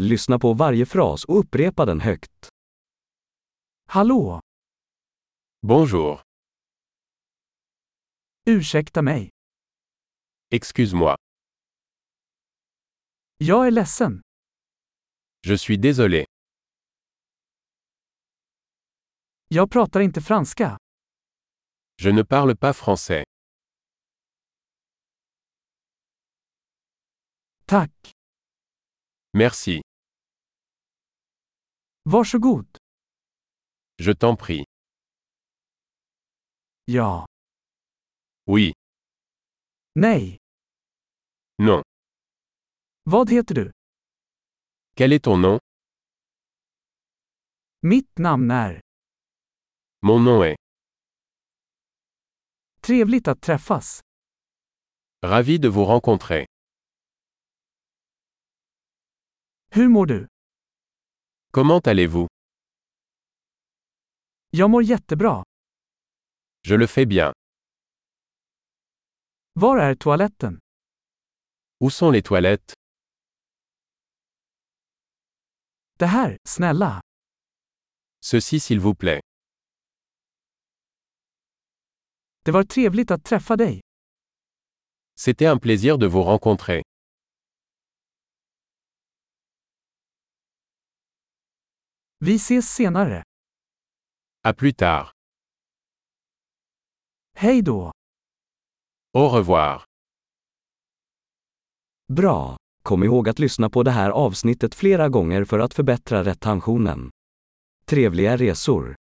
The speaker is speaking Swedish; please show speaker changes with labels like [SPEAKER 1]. [SPEAKER 1] Lyssna på varje fras och upprepa den högt. Hallå!
[SPEAKER 2] Bonjour.
[SPEAKER 1] Ursäkta mig.
[SPEAKER 2] Excuse-moi.
[SPEAKER 1] Jag är ledsen.
[SPEAKER 2] Je suis désolé.
[SPEAKER 1] Jag pratar inte franska.
[SPEAKER 2] Je ne parle pas français.
[SPEAKER 1] Tack.
[SPEAKER 2] Merci.
[SPEAKER 1] Varsågod.
[SPEAKER 2] Je t'en prie.
[SPEAKER 1] Ja.
[SPEAKER 2] Oui.
[SPEAKER 1] Nej.
[SPEAKER 2] Non.
[SPEAKER 1] Vad heter du?
[SPEAKER 2] Quel est ton nom
[SPEAKER 1] Mitt namn är.
[SPEAKER 2] Mon nom est.
[SPEAKER 1] Trevligt att träffas.
[SPEAKER 2] Ravi de vous rencontrer.
[SPEAKER 1] Hur mår du?
[SPEAKER 2] Comment allez-vous
[SPEAKER 1] Jag mår jättebra.
[SPEAKER 2] Je le fais bien.
[SPEAKER 1] Var är toaletten?
[SPEAKER 2] Où sont les toilettes
[SPEAKER 1] Det här, snälla.
[SPEAKER 2] Ceci s'il vous plaît.
[SPEAKER 1] Det var trevligt att träffa dig.
[SPEAKER 2] C'était un plaisir de vous rencontrer.
[SPEAKER 1] Vi ses senare.
[SPEAKER 2] À plus tard.
[SPEAKER 1] Hej då.
[SPEAKER 2] Au revoir.
[SPEAKER 1] Bra! Kom ihåg att lyssna på det här avsnittet flera gånger för att förbättra retentionen. Trevliga resor!